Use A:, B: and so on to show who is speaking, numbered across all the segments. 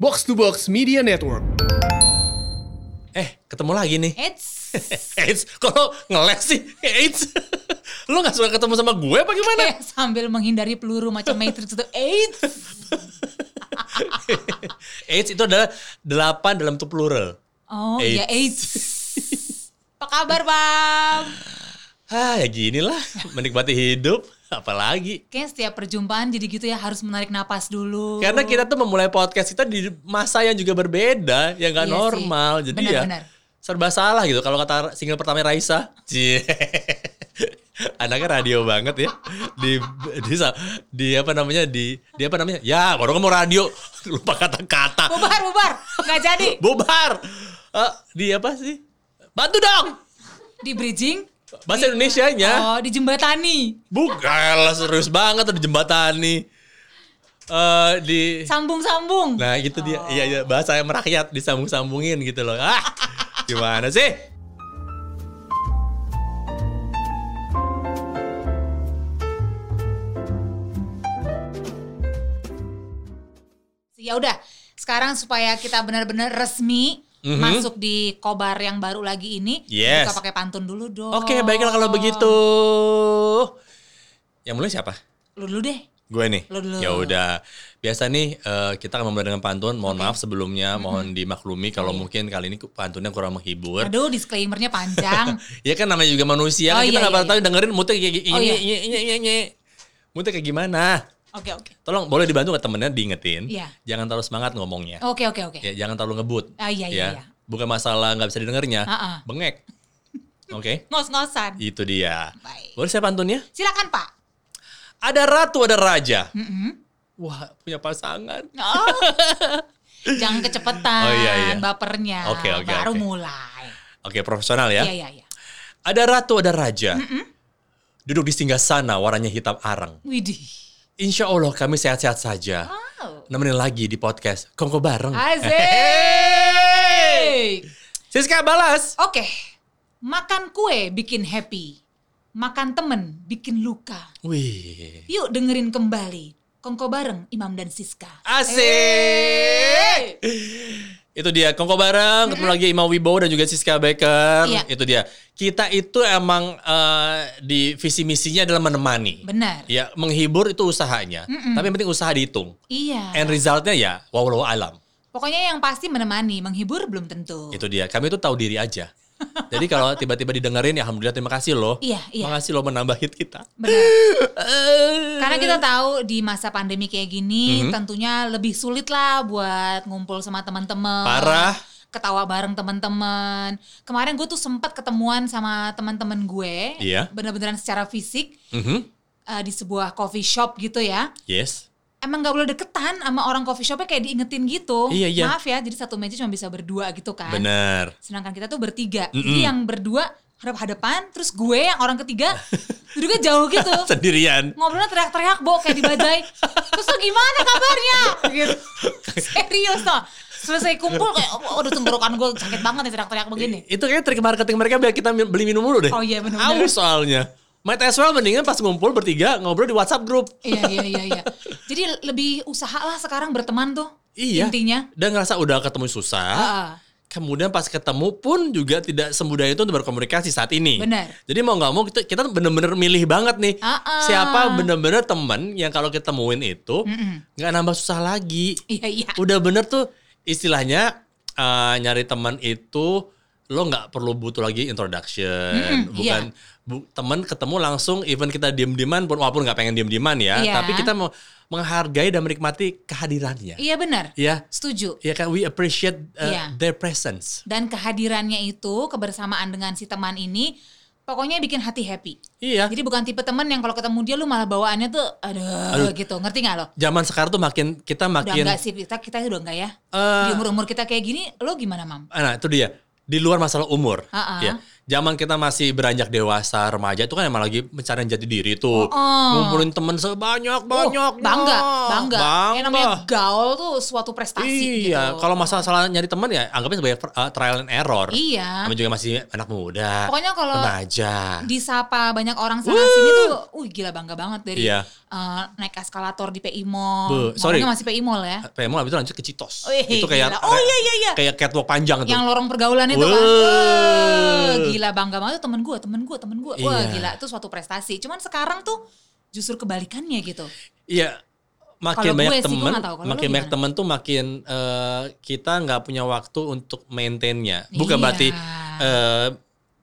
A: Box to Box Media Network.
B: Eh, ketemu lagi nih.
C: It's
B: Eits, kalau ngeles sih, eits. Lu gak suka ketemu sama gue apa gimana?
C: kayak sambil menghindari peluru macam Matrix itu. It's
B: Eits itu adalah delapan dalam tuh plural.
C: oh ya it's. Apa kabar Bang?
B: Ah, ya ginilah. Menikmati hidup, apalagi.
C: Kayaknya setiap perjumpaan jadi gitu ya harus menarik napas dulu.
B: Karena kita tuh memulai podcast kita di masa yang juga berbeda, yang gak
C: Iya sih.
B: normal. Jadi
C: Benar,
B: ya
C: benar.
B: serba salah gitu. Kalau kata single pertama Raisa, cie. Anaknya radio banget ya. Di, di di apa namanya? Di di apa namanya? Ya, baru kamu radio lupa kata-kata.
C: bubar bubar nggak jadi
B: bubar. Eh, di apa sih? Bantu dong.
C: di bridging.
B: Bahasa Indonesianya.
C: Oh di jembatani
B: Bukan lah serius banget tuh di jembatani. Eh di
C: sambung sambung.
B: Nah, gitu dia. Iya,
C: Oh.
B: iya, bahasa yang merakyat disambung-sambungin gitu loh. Ah. Gimana sih?
C: Ya udah sekarang supaya kita benar-benar resmi
B: Mhm.
C: masuk di kobar yang baru lagi ini.
B: Yes.
C: Kita pakai pantun dulu dong.
B: Oke, baiklah kalau begitu. Yang mulai siapa?
C: Lu dulu deh.
B: Gue nih.
C: Lo dulu.
B: Ya udah. Biasa nih eh, kita akan memulai dengan pantun. Mohon maaf sebelumnya, mohon dimaklumi kalau mungkin kali ini pantunnya kurang menghibur.
C: Aduh disclaimernya panjang.
B: Ya kan namanya juga manusia, kan
C: Oh,
B: kita
C: iya,
B: nggak pernah
C: iya,
B: tahu dengerin moodnya kayak gini,
C: Oh, iya.
B: nye, nye, nye, nye. moodnya kayak gimana.
C: Oke oke.
B: Tolong boleh dibantu nggak temennya diingetin,
C: Iya.
B: jangan terlalu semangat ngomongnya,
C: Oke oke oke.
B: ya jangan terlalu ngebut,
C: Ah, iya, iya,
B: ya
C: iya.
B: bukan masalah nggak bisa didengarnya,
C: Ah, ah.
B: bengek, oke,
C: Ngos-ngosan.
B: itu dia.
C: Baik.
B: Boleh saya pantunnya?
C: Silakan Pak.
B: Ada ratu, ada raja.
C: Mm-mm.
B: Wah, punya pasangan.
C: Oh. Jangan kecepetan,
B: Oh, iya, iya.
C: bapernya.
B: Oke, oke,
C: Baru
B: oke.
C: mulai.
B: Oke, profesional ya.
C: Iya, iya, iya.
B: Ada ratu, ada raja. Duduk di singgah sana, warnanya hitam arang.
C: Widih.
B: Insya Allah kami sehat-sehat saja.
C: Oh. Wow.
B: Nemenin lagi di podcast Kongko Bareng.
C: Asik.
B: Siska balas.
C: Oke. Makan kue bikin happy. Makan temen bikin luka.
B: Wih.
C: Yuk dengerin kembali. Kongko bareng Imam dan Siska.
B: Asik. Itu dia Kongko Bareng, ketemu lagi Imam Wibowo dan juga Siska Baker.
C: Iya.
B: Itu dia. Kita itu emang eh, di visi misinya adalah menemani.
C: Benar.
B: Ya, menghibur itu usahanya. Tapi yang penting usaha dihitung.
C: Iya.
B: End resultnya ya walau alam.
C: Pokoknya yang pasti menemani, menghibur belum tentu.
B: Itu dia. Kami itu tahu diri aja. Jadi kalau tiba-tiba didengerin ya alhamdulillah terima kasih loh.
C: Iya, iya.
B: Makasih loh menambah hit kita.
C: Benar. Karena kita
B: Hmm.
C: tahu di masa pandemi kayak gini tentunya lebih sulit lah buat ngumpul sama teman-teman.
B: Parah.
C: Ketawa bareng teman-teman. Kemarin gue tuh sempat ketemuan sama teman-teman gue.
B: Iya.
C: Bener-beneran secara fisik
B: Mhm.
C: eh, di sebuah coffee shop gitu ya.
B: Yes.
C: Emang gak boleh deketan sama orang coffee shopnya kayak diingetin gitu.
B: Iya, iya.
C: Maaf ya, jadi satu meja cuma bisa berdua gitu kan.
B: Bener.
C: Sedangkan kita tuh bertiga. Jadi
B: Mm-mm.
C: yang berdua hadap-hadapan, terus gue yang orang ketiga duduknya jauh gitu
B: Sendirian.
C: ngobrolnya teriak-teriak bo kayak di bajai terus lo gimana kabarnya gitu serius tuh selesai kumpul kayak "Oh, aduh tenggorokan gue sakit banget nih teriak-teriak begini
B: Itu kayaknya trik marketing mereka biar kita mi- beli minum dulu deh.
C: Oh iya, bener-bener.
B: Aus soalnya. Might as well mendingan pas ngumpul bertiga ngobrol di WhatsApp grup.
C: iya iya iya iya jadi lebih usaha lah sekarang berteman tuh
B: Iya.
C: intinya
B: Dan ngerasa udah ketemu susah.
C: Heeh.
B: Kemudian pas ketemu pun juga tidak semudah itu untuk berkomunikasi saat ini.
C: Bener. Ah,
B: Jadi mau nggak mau kita, kita bener-bener milih banget nih.
C: Ah-ah.
B: Siapa bener-bener temen yang kalau ketemuin itu nggak nambah susah lagi.
C: iya iya
B: udah bener tuh istilahnya eh, nyari teman itu lo nggak perlu butuh lagi introduction
C: Mm-mm, iya.
B: bukan bu- teman ketemu langsung even kita diem dieman pun walaupun nggak pengen diem dieman ya
C: Iya.
B: tapi kita mau menghargai dan menikmati kehadirannya
C: iya benar
B: ya
C: setuju
B: ya kan we appreciate eh,
C: Iya.
B: their presence
C: dan kehadirannya itu kebersamaan dengan si teman ini pokoknya bikin hati happy
B: iya
C: jadi bukan tipe teman yang kalau ketemu dia lu malah bawaannya tuh aduh,
B: Aduh.
C: gitu ngerti nggak lo
B: zaman sekarang tuh makin kita
C: Udah
B: makin
C: enggak sih kita kita udah enggak ya.
B: Eh.
C: di umur umur kita kayak gini, lo gimana mam?
B: Ah, Nah, itu dia. Di luar masalah umur,
C: Ah, ah.
B: ya. zaman kita masih beranjak dewasa remaja itu kan emang lagi mencari jati diri tuh
C: Oh.
B: ngumpulin temen sebanyak banyak
C: bangga, bangga. Yang namanya gaul tuh suatu prestasi
B: iya
C: gitu.
B: kalau masalah nyari temen ya anggapnya sebagai uh, trial and error
C: Iya.
B: Namanya juga masih anak muda
C: Pokoknya kalau
B: remaja
C: disapa banyak orang sana sini tuh, uh gila bangga banget dari
B: Iya.
C: eh, naik eskalator di PI Mall.
B: Be,
C: Ngomongnya
B: sorry. Eh,
C: masih PI Mall ya.
B: PMO abis itu lanjut ke Citos
C: Oh, iya,
B: itu kayak
C: gila. Oh, iya, iya, iya.
B: kayak catwalk panjang tuh
C: Yang lorong pergaulan itu kan.
B: Wah.
C: Wah, gila bangga banget tuh temen gue, temen gue, temen gue. Wah
B: Iya.
C: gila itu suatu prestasi. Cuman sekarang tuh justru kebalikannya gitu.
B: Iya, makin
C: Kalau
B: banyak
C: gue sih, gue
B: temen,
C: nggak tahu. Kalau lu
B: makin banyak
C: gimana?
B: temen tuh makin eh, kita nggak punya waktu untuk maintainnya. Bukan
C: Iya.
B: berarti, eh,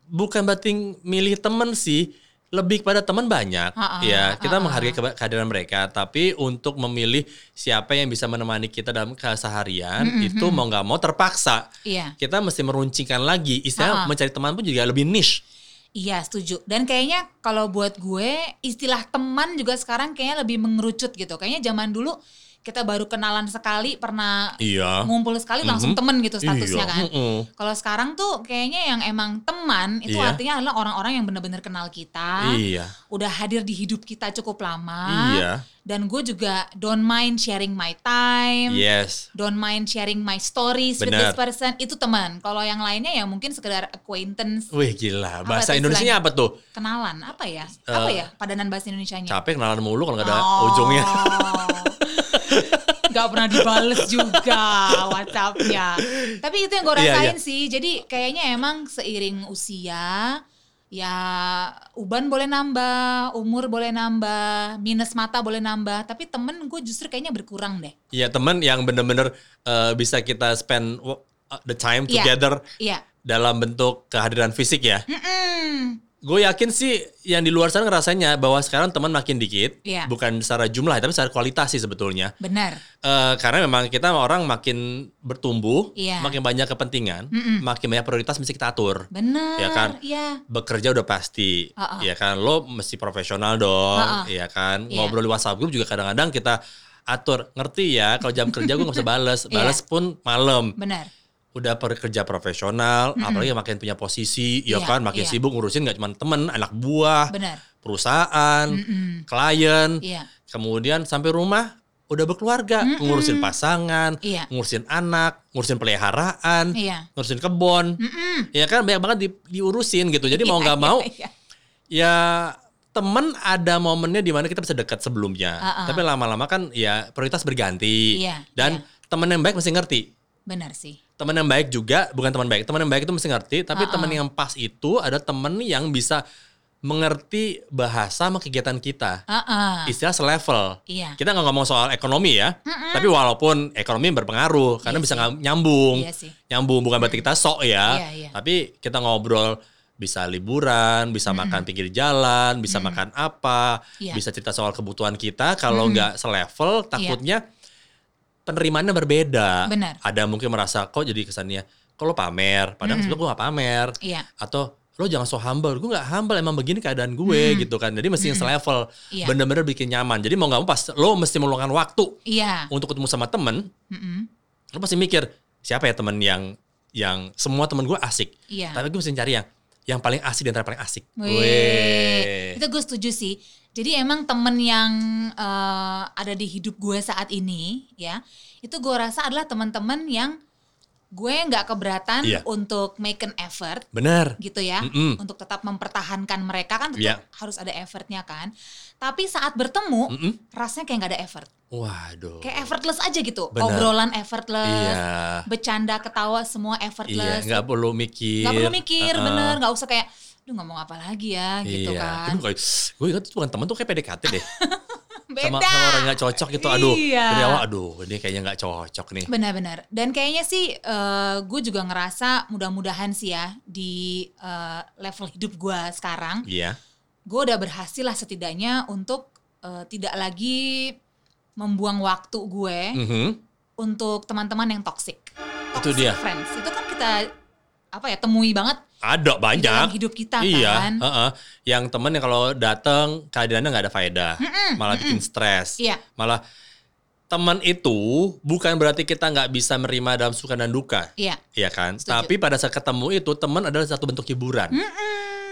B: bukan berarti milih temen sih, lebih kepada temen banyak.
C: Ha-ha,
B: ya, kita
C: ha-ha.
B: menghargai keba- kehadiran mereka, tapi untuk memilih siapa yang bisa menemani kita dalam keseharian itu mau nggak mau terpaksa.
C: Iya.
B: Kita mesti meruncingkan lagi, istilah
C: Ha-ha.
B: mencari teman pun juga lebih niche.
C: Iya setuju. Dan kayaknya kalau buat gue istilah teman juga sekarang kayaknya lebih mengerucut gitu. Kayaknya zaman dulu kita baru kenalan sekali pernah
B: Iya.
C: ngumpul sekali langsung
B: Mhm.
C: temen gitu statusnya
B: Iya,
C: kan.
B: mm-mm.
C: Kalau sekarang tuh kayaknya yang emang teman itu
B: Iya.
C: artinya adalah orang-orang yang benar-benar kenal kita,
B: Iya.
C: udah hadir di hidup kita cukup lama.
B: Iya.
C: Dan gue juga don't mind sharing my time.
B: Iya. Yes.
C: Don't mind sharing my stories with
B: Benar.
C: this person itu teman. Kalau yang lainnya ya mungkin sekedar acquaintance
B: Wih gila,
C: Apa
B: bahasa
C: tuh
B: Indonesianya apa tuh?
C: kenalan apa ya apa ya padanan bahasa
B: Eh,
C: Indonesianya
B: Capek kenalan mulu kalau nggak ada
C: Oh.
B: ujungnya.
C: nggak pernah dibales juga WhatsApp-nya tapi itu yang gue
B: Iya,
C: rasain
B: iya.
C: sih jadi kayaknya emang seiring usia ya uban boleh nambah umur boleh nambah minus mata boleh nambah tapi temen gue justru kayaknya berkurang deh
B: Iya teman yang bener-bener eh, bisa kita spend wo- uh, the time
C: Iya.
B: together
C: iya
B: dalam bentuk kehadiran fisik ya.
C: Mm-mm.
B: Gue yakin sih yang di luar sana ngerasainnya bahwa sekarang teman makin dikit,
C: Iya.
B: bukan secara jumlah tapi secara kualitas sih sebetulnya.
C: benar
B: Eh, karena memang kita orang makin bertumbuh,
C: Iya.
B: makin banyak kepentingan, makin banyak prioritas mesti kita atur.
C: benar
B: Ya kan?
C: iya
B: bekerja udah pasti,
C: Ha-ha.
B: ya kan lo mesti profesional dong,
C: Ha-ha.
B: ya kan
C: Iya.
B: ngobrol di WhatsApp grup juga kadang-kadang kita atur ngerti ya kalau jam kerja gue nggak bisa balas,
C: Iya.
B: balas pun malam.
C: benar
B: Udah pekerja profesional, apalagi makin punya posisi, ya
C: Iya,
B: kan makin
C: iya.
B: sibuk ngurusin nggak cuma temen, anak buah,
C: benar
B: perusahaan,
C: Mm.
B: klien,
C: iya
B: kemudian sampai rumah udah berkeluarga, ngurusin pasangan,
C: Iya.
B: ngurusin anak, ngurusin peliharaan,
C: Iya.
B: ngurusin kebon, ya kan banyak banget di- diurusin gitu. Jadi mau
C: Iya,
B: nggak
C: iya,
B: mau
C: iya.
B: ya temen ada momennya di mana kita bisa dekat sebelumnya,
C: Ah, ah.
B: tapi lama-lama kan ya prioritas berganti
C: Iya,
B: dan
C: iya.
B: temen yang baik mesti ngerti.
C: benar sih
B: Temen yang baik juga bukan teman baik, teman yang baik itu mesti ngerti, tapi temen yang pas itu ada temen yang bisa mengerti bahasa sama kegiatan kita
C: Ah, ah.
B: istilah selevel.
C: Iya.
B: Kita nggak ngomong soal ekonomi ya, tapi walaupun ekonomi berpengaruh karena
C: Iya
B: bisa
C: sih.
B: ngam- nyambung,
C: Iya sih.
B: nyambung bukan berarti kita sok ya,
C: Iya, iya.
B: tapi kita ngobrol bisa liburan, bisa makan pinggir jalan, bisa makan apa,
C: Iya.
B: bisa cerita soal kebutuhan kita. Kalau nggak selevel, takutnya penerimaannya berbeda.
C: Benar.
B: Ada mungkin merasa kok jadi kesannya, kalau pamer, padahal sebetulnya gue gak pamer
C: Iya.
B: atau lo jangan so humble, gue nggak humble emang begini keadaan gue gitu kan, jadi mesti yang selevel,
C: Iya.
B: bener-bener bikin nyaman. Jadi mau nggak mau pas lo mesti meluangkan waktu
C: Iya.
B: untuk ketemu sama temen,
C: Mm-mm.
B: lo pasti mikir siapa ya temen yang yang semua temen gue asik,
C: Iya.
B: tapi gue mesti cari yang yang paling asik dan paling asik.
C: Wih. Itu gue setuju sih. Jadi emang temen yang eh, ada di hidup gue saat ini ya, itu gue rasa adalah teman-teman yang gue nggak keberatan
B: Iya.
C: untuk make an effort
B: Bener.
C: gitu ya,
B: Mm-mm.
C: untuk tetap mempertahankan mereka kan tetap
B: Iya. Mm.
C: harus ada effortnya kan. Tapi saat bertemu
B: Mm-mm.
C: rasanya kayak nggak ada effort,
B: Waduh.
C: kayak effortless aja gitu,
B: Benar.
C: obrolan effortless,
B: Iya.
C: bercanda ketawa semua effortless.
B: Iya. Nggak perlu mikir.
C: nggak perlu mikir
B: Uh-uh.
C: bener nggak usah kayak lu ngomong apa lagi ya gitu
B: iya.
C: kan Ah,
B: Aduh, gue ingat tuh bukan temen tuh kayak PDKT deh. sama,
C: beda
B: sama orang nggak cocok gitu aduh
C: Iya.
B: dari awal aduh ini kayaknya nggak cocok nih
C: benar-benar dan kayaknya sih eh, gue juga ngerasa mudah-mudahan sih ya di eh, level hidup gue sekarang
B: iya
C: gue udah berhasil lah setidaknya untuk eh, tidak lagi membuang waktu gue
B: Mhm.
C: untuk teman-teman yang toxic
B: Itu
C: Toxic
B: dia.
C: friends itu kan kita apa ya temui banget
B: ada
C: di
B: banyak
C: dalam hidup kita
B: iya
C: kan
B: heeh. yang temen yang kalau datang keadaannya nggak ada faedah malah bikin stres
C: Iya.
B: malah teman itu bukan berarti kita nggak bisa menerima dalam suka dan duka.
C: Iya.
B: Iya kan?
C: Setuju.
B: Tapi pada saat ketemu itu teman adalah satu bentuk hiburan.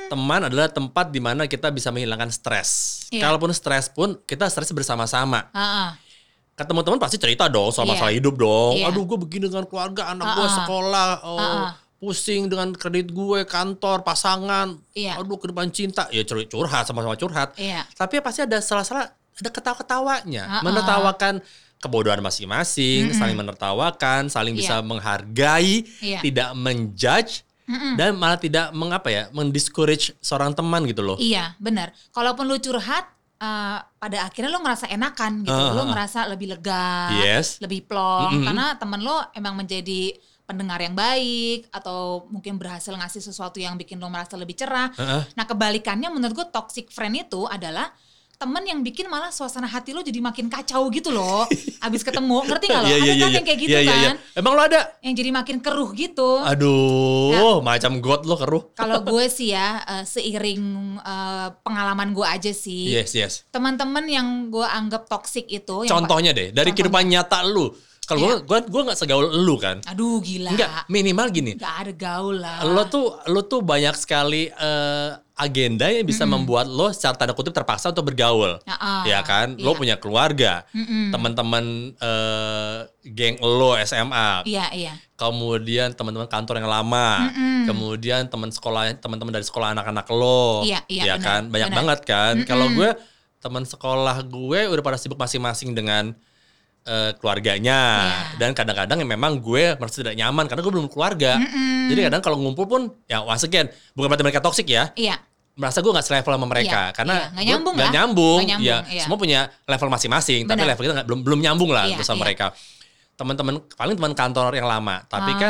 B: Teman adalah tempat di mana kita bisa menghilangkan stres.
C: Iya.
B: Kalaupun stres pun kita stres bersama-sama.
C: Heeh.
B: Ketemu teman pasti cerita dong soal
C: Iya.
B: masalah hidup dong.
C: Iya.
B: Aduh, gue begini dengan keluarga, anak
C: Ah,
B: gue
C: ah.
B: sekolah, oh,
C: Ah, ah.
B: pusing dengan kredit gue, kantor, pasangan.
C: Iya.
B: Aduh, ke depan cinta. Ya cur- curhat sama-sama curhat.
C: Iya.
B: Tapi pasti ada salah-salah ada ketawa-ketawanya,
C: Ah, ah.
B: menertawakan kebodohan masing-masing, saling menertawakan, saling bisa menghargai,
C: Iya. Mm.
B: tidak menjudge dan malah tidak mengapa ya, mendiscourage seorang teman gitu loh.
C: Iya, benar. Kalaupun lu curhat, eh, pada akhirnya lu ngerasa enakan gitu.
B: Ah,
C: Lu
B: ah, ah.
C: ngerasa lebih lega,
B: Yes.
C: lebih
B: Iya.
C: plong.
B: Mm-mm.
C: Karena temen lu emang menjadi pendengar yang baik. Atau mungkin berhasil ngasih sesuatu yang bikin lu merasa lebih cerah.
B: Heeh.
C: Nah kebalikannya menurut gue toxic friend itu adalah temen yang bikin malah suasana hati lu jadi makin kacau gitu loh. Abis ketemu, ngerti gak lo?
B: Iya, iya,
C: Ada kan
B: iya, iya.
C: yang kayak gitu
B: Iya, iya, Ah,
C: kan?
B: iya. Emang lo ada?
C: Yang jadi makin keruh gitu.
B: Aduh, macam god lo keruh.
C: Kalau gue sih ya eh, seiring eh, pengalaman gue aja sih.
B: Yes, yes.
C: Teman-teman yang gue anggap toksik itu. Yang Iya.
B: Contohnya deh, dari kehidupan nyata lu. Kalau gua gua gua nggak segaul lu kan.
C: pa- Aduh gila.
B: Enggak, minimal gini.
C: Nggak ada gaul lah.
B: lo tuh lo tuh banyak sekali eh, agenda yang bisa membuat lo secara tanda kutip terpaksa untuk bergaul
C: Ah, ah.
B: ya kan lo
C: Iya.
B: punya keluarga
C: Mm-mm.
B: teman-teman eh, geng lo SMA
C: Iya, iya.
B: kemudian teman-teman kantor yang lama
C: Mm-mm.
B: kemudian teman sekolah teman-teman dari sekolah anak-anak lo
C: Iya, iya,
B: ya
C: benar,
B: kan banyak
C: benar.
B: banget kan kalau gue teman sekolah gue udah pada sibuk masing-masing dengan eh, keluarganya
C: Iya.
B: dan kadang-kadang yang memang gue merasa tidak nyaman karena gue belum keluarga
C: Mm-mm.
B: jadi kadang kalau ngumpul pun ya once again bukan berarti mereka toksik ya.
C: Iya.
B: Merasa gue gak selevel sama mereka
C: Iya,
B: karena
C: iya. Nggak
B: gue
C: nyambung
B: nggak
C: lah.
B: nyambung,
C: Nggak nyambung,
B: ya.
C: iya.
B: Semua punya level masing-masing, tapi
C: Benar.
B: level kita nggak- belum belum nyambung lah
C: Iya,
B: untuk sama
C: iya.
B: mereka. Teman-teman paling teman kantor yang lama, tapi kan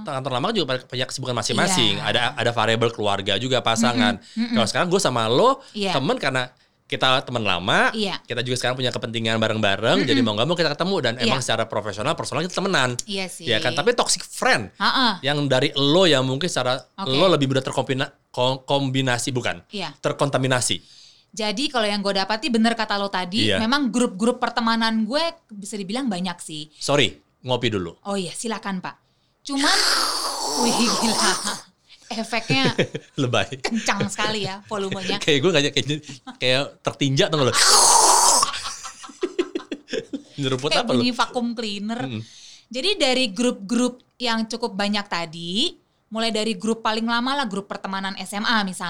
B: kantor lama juga pada- punya kesibukan masing-masing.
C: Ah. Iya.
B: Ada ada variabel keluarga juga pasangan. Kalau sekarang gue sama lo
C: Iya.
B: teman karena kita teman lama,
C: Iya.
B: kita juga sekarang punya kepentingan bareng-bareng, jadi mau nggak mau kita ketemu dan
C: Iya.
B: emang secara profesional personal kita temenan,
C: Iya sih.
B: ya kan? Tapi Iya. toxic friend,
C: Ah, ah.
B: yang dari lo yang mungkin secara
C: Oke.
B: lo lebih mudah terkombina- ko- kombinasi bukan
C: Iya.
B: terkontaminasi
C: Jadi kalau yang gue dapati bener kata lo tadi,
B: Iya.
C: memang grup-grup pertemanan gue bisa dibilang banyak sih.
B: sorry ngopi dulu
C: Oh iya, silakan Pak. Cuman, wih gila, efeknya
B: lebay
C: kencang sekali ya volumenya.
B: kayak gue kayak kayak, kayak tertinjak tuh lo nyeruput
C: kayak
B: apa lo
C: bunyi vakum cleaner. Jadi dari grup-grup yang cukup banyak tadi, mulai dari grup paling lama lah grup pertemanan SMA misalnya.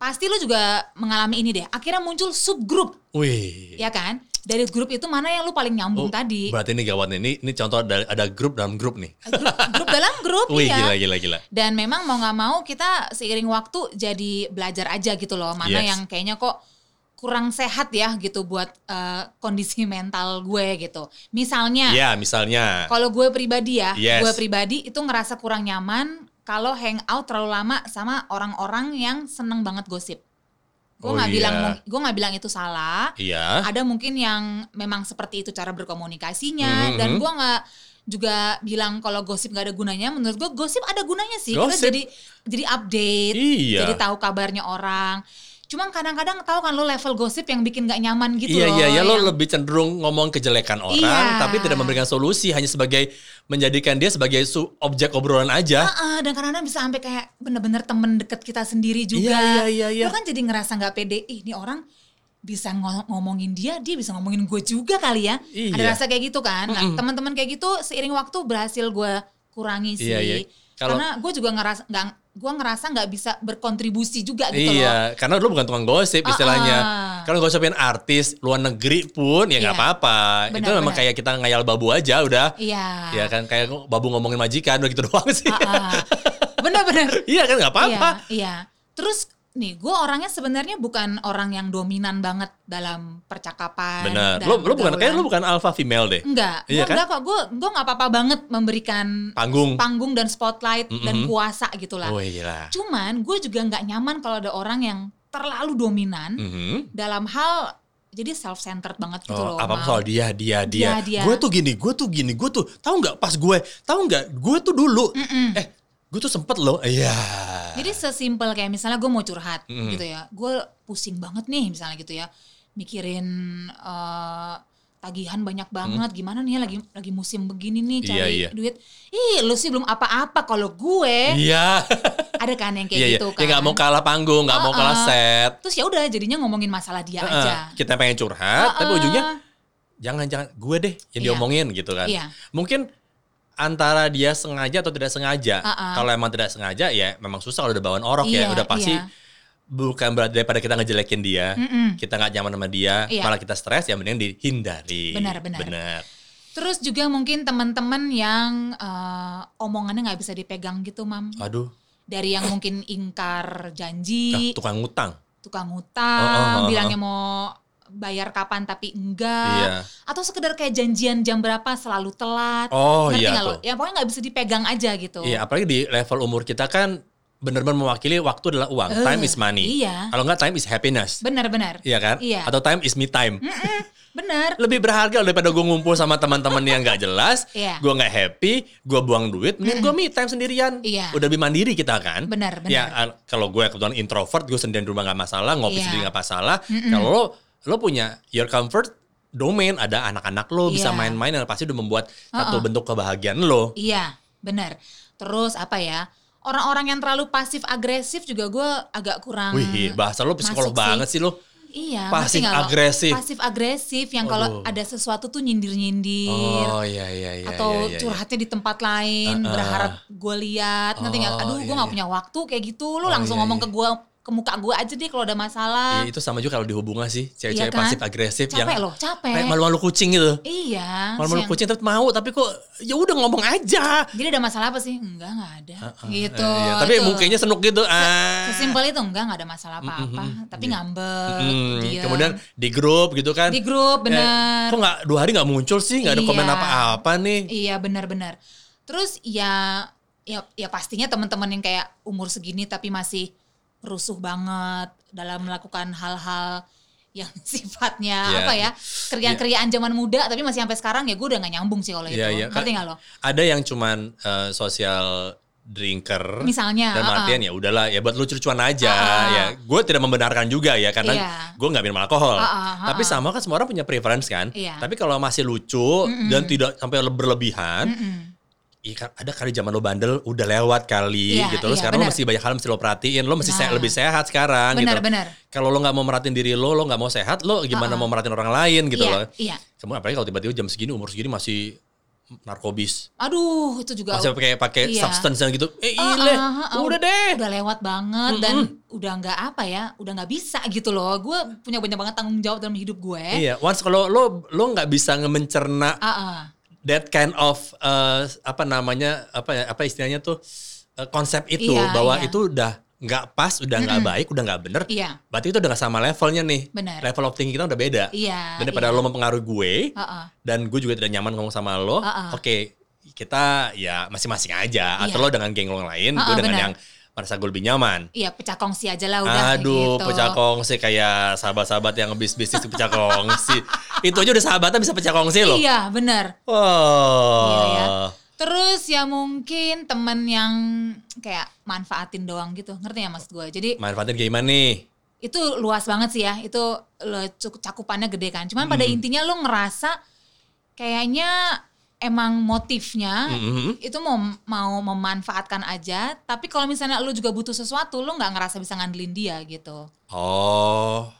C: Pasti lu juga mengalami ini deh. Akhirnya muncul subgrup,
B: wih
C: ya kan? Dari grup itu mana yang lu paling
B: Iya. Oh,
C: nyambung tadi?
B: berarti ini gawat nih ini, ini contoh ada, ada grup dalam grup nih
C: Grup, grup dalam grup
B: wih
C: ya.
B: gila iya. gila gila
C: Dan memang mau nggak mau kita seiring waktu jadi belajar aja gitu loh mana
B: Yes.
C: yang kayaknya kok kurang sehat ya gitu buat eh, kondisi mental gue gitu. Misalnya
B: ya misalnya
C: kalau gue pribadi ya,
B: Yes.
C: gue pribadi itu ngerasa kurang nyaman kalau hangout terlalu lama sama orang-orang yang seneng banget gosip.
B: Oh,
C: Gue nggak
B: iya.
C: bilang gue nggak bilang itu salah.
B: iya
C: Ada mungkin yang memang seperti itu cara
B: Mhm.
C: berkomunikasinya dan gue nggak juga bilang kalau gosip nggak ada gunanya. Menurut gue gosip ada gunanya sih.
B: Gosip.
C: Kita jadi jadi update,
B: Iya.
C: jadi tahu kabarnya orang. Cuma kadang-kadang tahu kan lo level gosip yang bikin nggak nyaman gitu
B: iya
C: loh.
B: iya iya lo
C: yang-
B: lebih cenderung ngomong kejelekan orang
C: Iya.
B: tapi tidak memberikan solusi hanya sebagai menjadikan dia sebagai su- objek obrolan aja
C: Heeh, dan kadang-kadang bisa sampai kayak bener-bener temen deket kita sendiri juga.
B: Iya, iya, iya, iya.
C: Lu kan jadi ngerasa nggak pede, ih ini orang bisa ngo- ngomongin dia, dia bisa ngomongin gue juga kali ya.
B: Iya.
C: Ada rasa kayak gitu kan. Nah, teman-teman kayak gitu seiring waktu berhasil gue kurangi sih.
B: Iya, iya. Kalau-
C: Karena gue juga ngerasa nggak gue ngerasa nggak bisa berkontribusi juga gitu
B: iya,
C: loh.
B: karena lu bukan tukang gosip istilahnya.
C: Ah, ah.
B: Kalau gosipin artis luar negeri pun ya nggak
C: Iya.
B: apa-apa. Itu
C: Benar,
B: memang
C: benar.
B: kayak kita ngayal babu aja udah.
C: Iya.
B: Ya kan kayak babu ngomongin majikan udah gitu doang sih.
C: Heeh. Bener-bener.
B: iya kan nggak apa-apa.
C: Ah, Iya, iya. Terus nih, gue orangnya sebenarnya bukan orang yang dominan banget dalam percakapan.
B: Benar. Lu lu
C: dalam
B: bukan
C: pergaulan.
B: kayak lu bukan alpha female deh.
C: Enggak, gue
B: Iya kan?
C: enggak kok. Gue gue nggak apa-apa banget memberikan
B: Panggung.
C: panggung dan spotlight dan kuasa gitu lah.
B: Oh iya.
C: Cuman gue juga nggak nyaman kalau ada orang yang terlalu dominan
B: Mhm.
C: dalam hal jadi self centered banget gitu
B: Oh,
C: loh.
B: apa
C: Mal. Iya,
B: soal dia, dia, dia.
C: Dia, dia.
B: Gue tuh gini, gue tuh gini, gue tuh tahu nggak pas gue, tahu nggak gue tuh dulu, eh gue tuh sempet loh, iya.
C: Jadi sesimpel kayak misalnya gue mau curhat
B: Mm-mm.
C: gitu ya, gue pusing banget nih misalnya gitu ya, mikirin eh, tagihan banyak banget gimana nih ya lagi lagi musim begini nih cari
B: Iya, iya.
C: duit ih lu sih belum apa-apa kalau gue
B: Iya.
C: ada kan yang kayak
B: Iya, iya.
C: gitu kan
B: Ya nggak mau kalah panggung, nggak mau kalah
C: Uh-uh.
B: set.
C: terus ya udah jadinya ngomongin masalah dia
B: Heeh,
C: aja
B: Kita pengen curhat, tapi
C: Heeh.
B: ujungnya jangan-jangan gue deh yang
C: Iya.
B: diomongin gitu kan.
C: Iya.
B: Mungkin antara dia sengaja atau tidak sengaja.
C: Heeh.
B: Kalau emang tidak sengaja ya memang susah kalau udah bawaan orok ya,
C: Uh-uh. Iya,
B: udah pasti
C: iya.
B: bukan berarti daripada kita ngejelekin dia,
C: Mm-mm.
B: kita nggak nyaman sama dia,
C: Hmm. Iya.
B: malah kita stres ya mending dihindari.
C: Benar, benar.
B: Benar.
C: terus juga mungkin teman-teman yang eh, omongannya nggak bisa dipegang gitu mam
B: Aduh,
C: dari yang mungkin
B: ah,
C: ingkar janji
B: tukang ngutang.
C: tukang
B: Oh, oh, oh,
C: utang
B: oh.
C: bilangnya mau bayar kapan tapi enggak
B: Iya.
C: atau sekedar kayak janjian jam berapa selalu telat
B: Oh
C: ngerti
B: iya
C: nggak lo?
B: tuh.
C: ya pokoknya nggak bisa dipegang aja gitu
B: Iya, apalagi di level umur kita kan benar-benar mewakili waktu adalah uang.
C: Eh,
B: time is money.
C: iya
B: Kalau nggak time is happiness.
C: benar-benar
B: Iya kan?
C: Iya.
B: Atau time is me time.
C: benar
B: Lebih berharga daripada gue ngumpul sama teman-teman yang nggak jelas,
C: Iya.
B: gue nggak happy, gue buang duit, mending gue me time sendirian.
C: Iya.
B: Udah lebih mandiri kita kan?
C: Benar, benar.
B: Ya, al- kalau gue kebetulan introvert, gue sendirian di rumah nggak masalah, ngopi
C: Iya.
B: sendiri nggak masalah. Kalau lo, lo punya your comfort domain, ada anak-anak lo bisa
C: Iya.
B: main-main, dan pasti udah membuat satu
C: Uh-uh.
B: bentuk kebahagiaan lo.
C: Iya, benar. Terus apa ya? Orang-orang yang terlalu pasif agresif juga gue agak kurang.
B: Wih, iya, bahasa lo psikolog
C: Iya. masuk sih.
B: banget sih lo.
C: Iya,
B: pasif
C: ngerti nggak lo?
B: agresif.
C: Pasif agresif yang kalau
B: Aduh.
C: ada sesuatu tuh nyindir-nyindir.
B: Oh iya iya iya.
C: atau
B: iya, iya, iya.
C: curhatnya di tempat lain,
B: Ah, ah.
C: berharap gue lihat, ngerti nggak?
B: Oh,
C: Aduh, gue
B: iya,
C: nggak
B: iya.
C: punya waktu kayak gitu. Lu
B: Oh,
C: langsung
B: iya,
C: ngomong
B: iya.
C: ke gue, ke muka gue aja deh kalau ada masalah.
B: Iya, itu sama juga kalau di hubungan sih, cewek-cewek
C: Iya kan?
B: pasif agresif
C: Capek
B: yang
C: loh, capek.
B: kayak malu-malu kucing gitu.
C: Iya.
B: Malu-malu
C: terus yang-
B: kucing tapi mau, tapi kok ya udah ngomong aja.
C: Jadi ada masalah apa sih? Enggak, nggak ada. gitu.
B: Eh, iya, tapi
C: itu.
B: mukanya senuk gitu. Ah.
C: Sesimpel itu enggak, enggak ada masalah apa-apa. Tapi ngambek,
B: Hmm,
C: diem.
B: iya. kemudian di grup gitu kan.
C: di grup
B: Eh,
C: bener.
B: kok nggak dua hari nggak muncul sih, nggak ada komen
C: Iya.
B: apa-apa nih.
C: iya benar-benar. Terus ya ya ya pastinya teman-teman yang kayak umur segini tapi masih rusuh banget dalam melakukan hal-hal yang sifatnya
B: Iya.
C: apa ya kerjaan-kerjaan zaman muda tapi masih sampai sekarang ya gue udah gak nyambung sih kalau
B: Iya,
C: itu
B: iya.
C: ngerti nggak lo?
B: Ada yang cuman eh, sosial drinker.
C: Misalnya,
B: Dan
C: uh-uh.
B: artian ya udahlah ya buat lucu-lucuan aja
C: Uh-uh.
B: ya. Gue tidak membenarkan juga ya karena
C: Iya.
B: gue nggak minum alkohol.
C: Uh-uh, uh-uh.
B: Tapi sama kan semua orang punya preference kan.
C: Iya.
B: Tapi kalau masih lucu dan tidak sampai le- berlebihan,
C: Mm-mm.
B: iya kan, ada kali zaman lo bandel udah lewat kali
C: Iya,
B: gitu. Lo
C: iya,
B: sekarang
C: benar.
B: lo masih banyak hal yang mesti lo perhatiin. Lo mesti se-
C: Nah.
B: lebih sehat sekarang gitu.
C: Benar-benar.
B: Kalau lo nggak mau merhatiin diri lo, lo nggak mau sehat, lo gimana mau merhatiin orang lain gitu
C: iya,
B: loh.
C: iya.
B: Kemudian apalagi kalau tiba-tiba jam segini umur segini masih narkobis.
C: Aduh itu juga
B: Masih pakai pakai
C: Iya.
B: substance yang gitu. Eh,
C: Ah,
B: ile,
C: ah, ah, ah,
B: udah deh.
C: udah lewat banget dan udah nggak apa ya udah nggak bisa gitu loh gue punya banyak banget tanggung jawab dalam hidup gue
B: Iya, once kalau lo lo nggak bisa mencerna
C: Ah, ah.
B: that kind of uh, apa namanya apa ya- apa istilahnya tuh uh, konsep itu
C: Iya,
B: bahwa
C: iya.
B: itu udah nggak pas, udah nggak baik, udah nggak bener.
C: Iya.
B: Berarti itu udah nggak sama levelnya nih.
C: Benar.
B: Level of thinking kita udah beda.
C: Iya,
B: Dan daripada
C: iya.
B: lo mempengaruhi gue
C: Ah, ah.
B: dan gue juga tidak nyaman ngomong sama lo.
C: Ah, ah.
B: Oke, kita ya masing-masing aja. Atau
C: Iya.
B: lo dengan geng lo yang lain,
C: Ah,
B: gue
C: ah,
B: dengan
C: benar.
B: yang merasa gue lebih nyaman.
C: Iya pecah kongsi aja lah udah
B: Aduh,
C: gitu.
B: pecah kongsi kayak sahabat-sahabat yang habis bisnis pecah kongsi. Itu aja udah sahabatan bisa pecah kongsi Oh. loh.
C: Iya benar.
B: Wah.
C: Iya ya. Terus ya mungkin temen yang kayak manfaatin doang gitu, ngerti ya maksud gue? Jadi
B: Manfaatin kayak gimana nih?
C: itu luas banget sih ya, itu lo cukup cakupannya gede kan. Cuman
B: Hmm.
C: pada intinya lo ngerasa kayaknya emang motifnya
B: Mhm.
C: itu mau mau memanfaatkan aja. Tapi kalau misalnya lo juga butuh sesuatu, lo nggak ngerasa bisa ngandelin dia gitu.
B: Oh.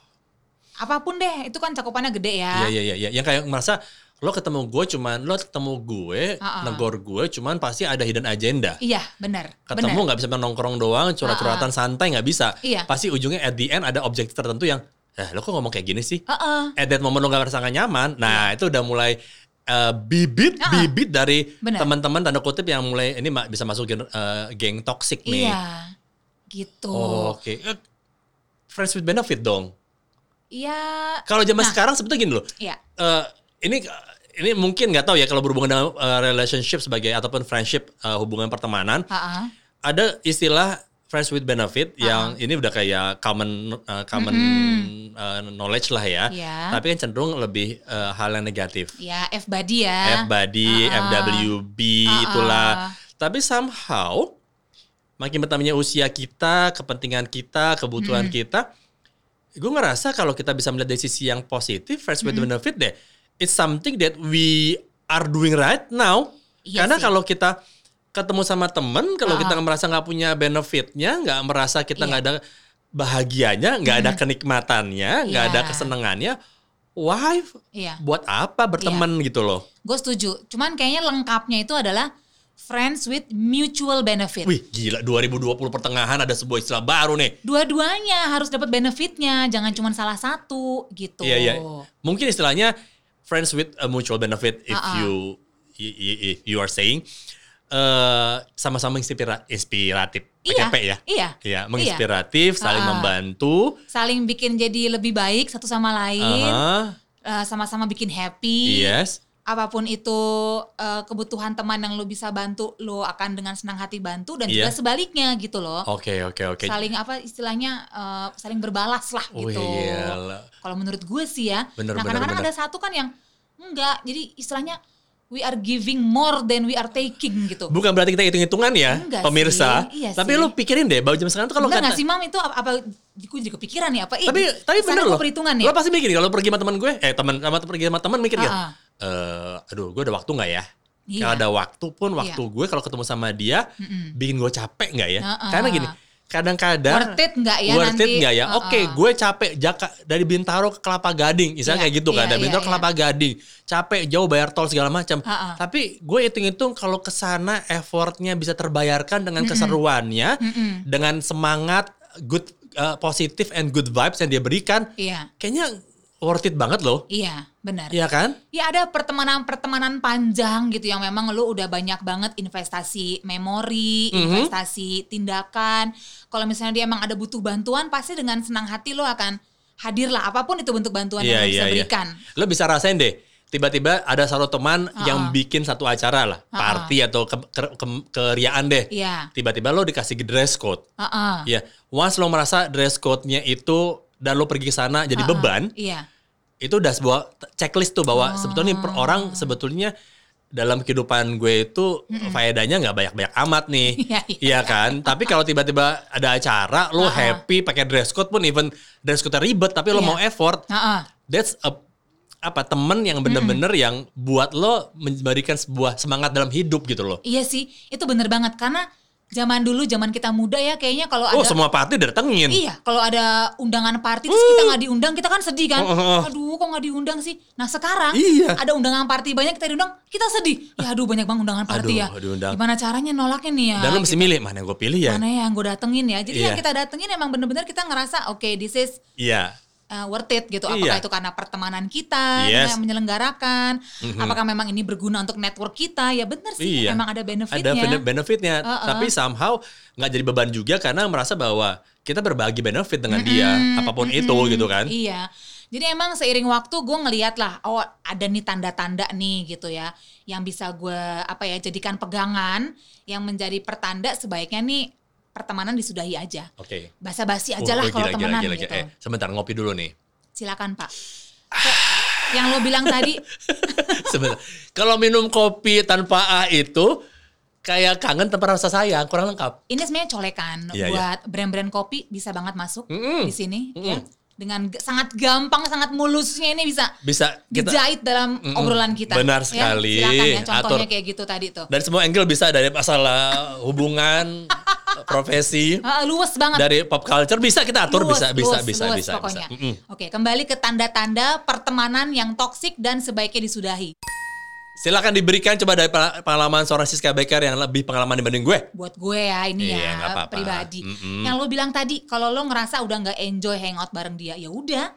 C: Apapun deh, itu kan cakupannya gede ya.
B: Iya iya iya iya. Yang kayak merasa lo ketemu gue cuman lo ketemu gue,
C: Ah, ah.
B: negor gue cuman pasti ada hidden agenda.
C: Iya, benar. benar.
B: Ketemu nggak bisa nongkrong doang, curhat-curhatan santai nggak bisa.
C: Iya.
B: Pasti ujungnya at the end ada objektif tertentu yang, eh lo kok ngomong kayak gini sih?
C: Heeh. Iya.
B: at that moment lo gak merasa nggak nyaman, nah itu udah mulai uh, bibit
C: Ah,
B: bibit dari
C: Bener.
B: teman-teman tanda kutip yang mulai ini ma- bisa masuk gen- uh, geng toxic nih.
C: Iya. Gitu.
B: Oh, Oke. Eh, Friends with benefit dong.
C: Iya.
B: Kalau zaman
C: Nah.
B: sekarang sebetulnya gini loh.
C: Iya.
B: Eh, ini ini mungkin nggak tahu ya kalau berhubungan dengan eh, relationship sebagai ataupun friendship eh, hubungan pertemanan
C: Heeh.
B: ada istilah friends with benefit yang ini udah kayak common eh, common eh, knowledge lah ya.
C: Iya.
B: Tapi kan cenderung lebih eh, hal yang negatif.
C: Ya F body
B: F
C: ya.
B: body,
C: Ah, ah.
B: FWB
C: Ah,
B: itulah.
C: ah.
B: Tapi somehow makin bertambahnya usia kita, kepentingan kita, kebutuhan
C: Hmm. Hmm.
B: kita, gue ngerasa kalau kita bisa melihat dari sisi yang positif, first with benefit deh, it's something that we are doing right now.
C: Iya
B: Karena
C: sih.
B: kalau kita ketemu sama temen, kalau
C: Ah.
B: kita merasa nggak punya benefitnya, nggak merasa kita
C: Iya. Hmm.
B: nggak ada bahagianya, nggak ada kenikmatannya, nggak ada
C: Iya.
B: kesenangannya, why?
C: Iya.
B: Buat apa berteman gitu loh?
C: Gue setuju. Cuman kayaknya lengkapnya itu adalah friends with mutual benefit.
B: Wih, gila 2020 pertengahan ada sebuah istilah baru nih.
C: Dua-duanya harus dapat benefitnya, jangan cuma salah satu gitu.
B: Iya iya. Mungkin istilahnya friends with a mutual benefit if
C: Ah, ah.
B: you i- i- i- you are saying eh, sama-sama inspira- inspiratif.
C: Iya,
B: PKP ya.
C: iya.
B: Iya, menginspiratif, saling
C: Ah, ah.
B: membantu.
C: Saling bikin jadi lebih baik satu sama lain,
B: Aha, Iya.
C: eh, sama-sama bikin happy.
B: Yes.
C: Apapun itu eh, kebutuhan teman yang lo bisa bantu, lo akan dengan senang hati bantu dan juga
B: Iya.
C: sebaliknya gitu loh.
B: Oke, oke, oke.
C: Saling apa istilahnya eh, saling berbalas lah
B: gitu. Wih,
C: gitu.
B: gila.
C: Kalau menurut gue sih ya.
B: Bener,
C: nah
B: bener,
C: kadang-kadang
B: bener.
C: ada satu kan yang enggak. Jadi istilahnya we are giving more than we are taking gitu.
B: Bukan berarti kita hitung-hitungan ya,
C: Enggak
B: pemirsa.
C: sih, iya
B: tapi
C: sih.
B: lu pikirin deh, bau jam sekarang tuh kalau kata-
C: Bener nggak sih mam itu apa? apa gue juga kepikiran ya apa? Ih,
B: tapi tapi
C: kesana
B: bener
C: gue
B: loh
C: Perhitungan ya.
B: lo pasti mikir kalau pergi sama teman gue eh teman sama pergi sama teman mikir ya
C: Ah, ah.
B: eh aduh gue ada waktu nggak ya
C: Iya.
B: kalau ada waktu pun waktu gue kalau ketemu sama dia bikin gue capek nggak ya
C: Ah, ah.
B: karena gini kadang-kadang
C: Worth it nggak ya
B: worth it
C: nanti?
B: nggak ya
C: Ah, ah.
B: oke gue capek jaka, dari Bintaro ke Kelapa Gading misalnya
C: Iya,
B: kayak gitu kan
C: iya,
B: dari
C: iya,
B: Bintaro ke
C: iya.
B: Kelapa Gading capek jauh bayar tol segala macam
C: Ah, ah.
B: tapi gue hitung-hitung kalau kesana effortnya bisa terbayarkan dengan keseruannya
C: Mm-mm.
B: dengan semangat good eh, positif and good vibes yang dia berikan
C: Iya,
B: kayaknya worth it banget loh
C: iya benar.
B: Iya kan
C: Ya ada pertemanan-pertemanan panjang gitu yang memang lu udah banyak banget investasi memori,
B: Mhm.
C: investasi tindakan. Kalau misalnya dia emang ada butuh bantuan, pasti dengan senang hati lu akan hadir lah apapun itu bentuk bantuan
B: Iya,
C: yang lu bisa
B: iya, iya.
C: berikan.
B: lo bisa rasain deh tiba-tiba ada satu teman
C: Ah,
B: yang
C: ah.
B: bikin satu acara lah
C: Ah,
B: party atau ke- ke- ke- keriaan deh
C: Iya.
B: tiba-tiba lo dikasih dress code
C: Heeh.
B: Iya, once lo merasa dress code-nya itu dan lo pergi ke sana jadi
C: Heeh.
B: beban,
C: Iya.
B: itu udah sebuah t- checklist tuh bahwa sebetulnya
C: Ah.
B: per orang sebetulnya dalam kehidupan gue itu faedahnya nggak banyak-banyak amat nih.
C: Iya, iya. Ah,
B: Iya kan? Tapi kalau tiba-tiba ada acara, lo happy pakai dress code pun even dress code ribet tapi lo
C: Iya.
B: mau effort,
C: Heeh.
B: that's a apa temen yang bener-bener yang buat lo memberikan sebuah semangat dalam hidup gitu loh.
C: Iya sih, itu bener banget karena zaman dulu zaman kita muda ya kayaknya kalau
B: Oh,
C: ada
B: semua party datengin.
C: Iya, kalau ada undangan party terus kita nggak diundang, kita kan sedih kan.
B: Hmm. Oh, oh, oh.
C: Aduh, kok nggak diundang sih? Nah sekarang
B: Iya.
C: ada undangan party banyak kita diundang, kita sedih. Ya aduh banyak banget undangan party
B: Aduh,
C: ya.
B: diundang.
C: Gimana caranya nolaknya nih ya?
B: Dan lo mesti milih mana yang gue pilih ya.
C: Mana yang gue datengin ya? Jadi yang
B: Iya.
C: kita datengin emang bener-bener kita ngerasa oke this is
B: Iya.
C: uh, worth it gitu.
B: Iya.
C: Apakah itu karena pertemanan kita
B: Yes. Mm-hmm.
C: yang menyelenggarakan? Apakah memang ini berguna untuk network kita? Ya bener sih,
B: Iya.
C: memang
B: ada
C: ada benefitnya.
B: bene- benefitnya
C: Uh-uh.
B: tapi somehow nggak jadi beban juga karena merasa bahwa kita berbagi benefit dengan dia apapun itu gitu kan
C: Iya. Jadi emang seiring waktu gue ngeliat lah, oh ada nih tanda-tanda nih gitu ya, yang bisa gue apa ya jadikan pegangan, yang menjadi pertanda sebaiknya nih pertemanan disudahi aja,
B: oke
C: basa-basi
B: Wah,
C: aja lah
B: gila,
C: kalau
B: gila,
C: temenan
B: gila, gila.
C: gitu.
B: Eh, sebentar ngopi dulu nih
C: Silakan pak. Kok yang lo bilang tadi,
B: sebentar kalau minum kopi tanpa A itu kayak kangen tanpa rasa sayang kurang lengkap
C: ini sebenarnya colekan
B: Iya, iya.
C: buat brand-brand kopi bisa banget masuk
B: Mm-mm.
C: di sini, ya.
B: Mm-mm.
C: dengan g- sangat gampang, sangat mulusnya ini bisa
B: bisa kita
C: dijahit dalam
B: Mm-mm.
C: obrolan kita.
B: Benar
C: Ya,
B: sekali.
C: Silakan ya, contohnya
B: Atur.
C: kayak gitu tadi tuh.
B: dari semua angle bisa dari masalah hubungan profesi
C: Ah, luwes banget.
B: dari pop culture bisa kita atur
C: Luwes,
B: bisa bisa
C: luwes,
B: bisa
C: luwes
B: bisa
C: pokoknya.
B: bisa Mm-mm.
C: Oke, kembali ke tanda-tanda pertemanan yang toksik dan sebaiknya disudahi.
B: silakan diberikan coba dari pengala- pengalaman seorang Siska Becker yang lebih pengalaman dibanding gue
C: Buat gue ya ini
B: Iya, nggak
C: ya
B: apa-apa.
C: pribadi.
B: Mm-mm.
C: Yang lo bilang tadi kalau lo ngerasa udah nggak enjoy hangout bareng dia, ya udah.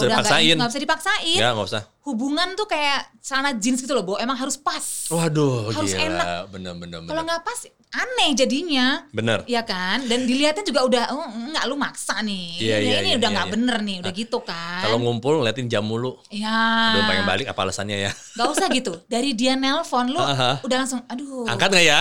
B: Nggak usah
C: udah nggak
B: dipaksain.
C: nggak bisa dipaksain.
B: ya nggak usah
C: Hubungan tuh kayak celana jeans gitu loh, Bo. Emang harus pas.
B: Waduh,
C: Harus
B: gila.
C: enak.
B: Bener, bener, bener.
C: Kalau nggak pas, aneh jadinya.
B: Bener.
C: Iya kan? Dan dilihatnya juga udah, oh, nggak lu maksa nih.
B: Iya,
C: ini
B: iya,
C: ini
B: iya,
C: udah
B: iya,
C: nggak
B: iya.
C: bener nih, udah gitu kan.
B: Kalau ngumpul ngeliatin jam mulu.
C: ya.
B: Aduh, pengen balik apa alasannya ya?
C: Gak usah gitu. Dari dia nelpon lu
B: Aha.
C: udah langsung aduh.
B: Angkat nggak ya?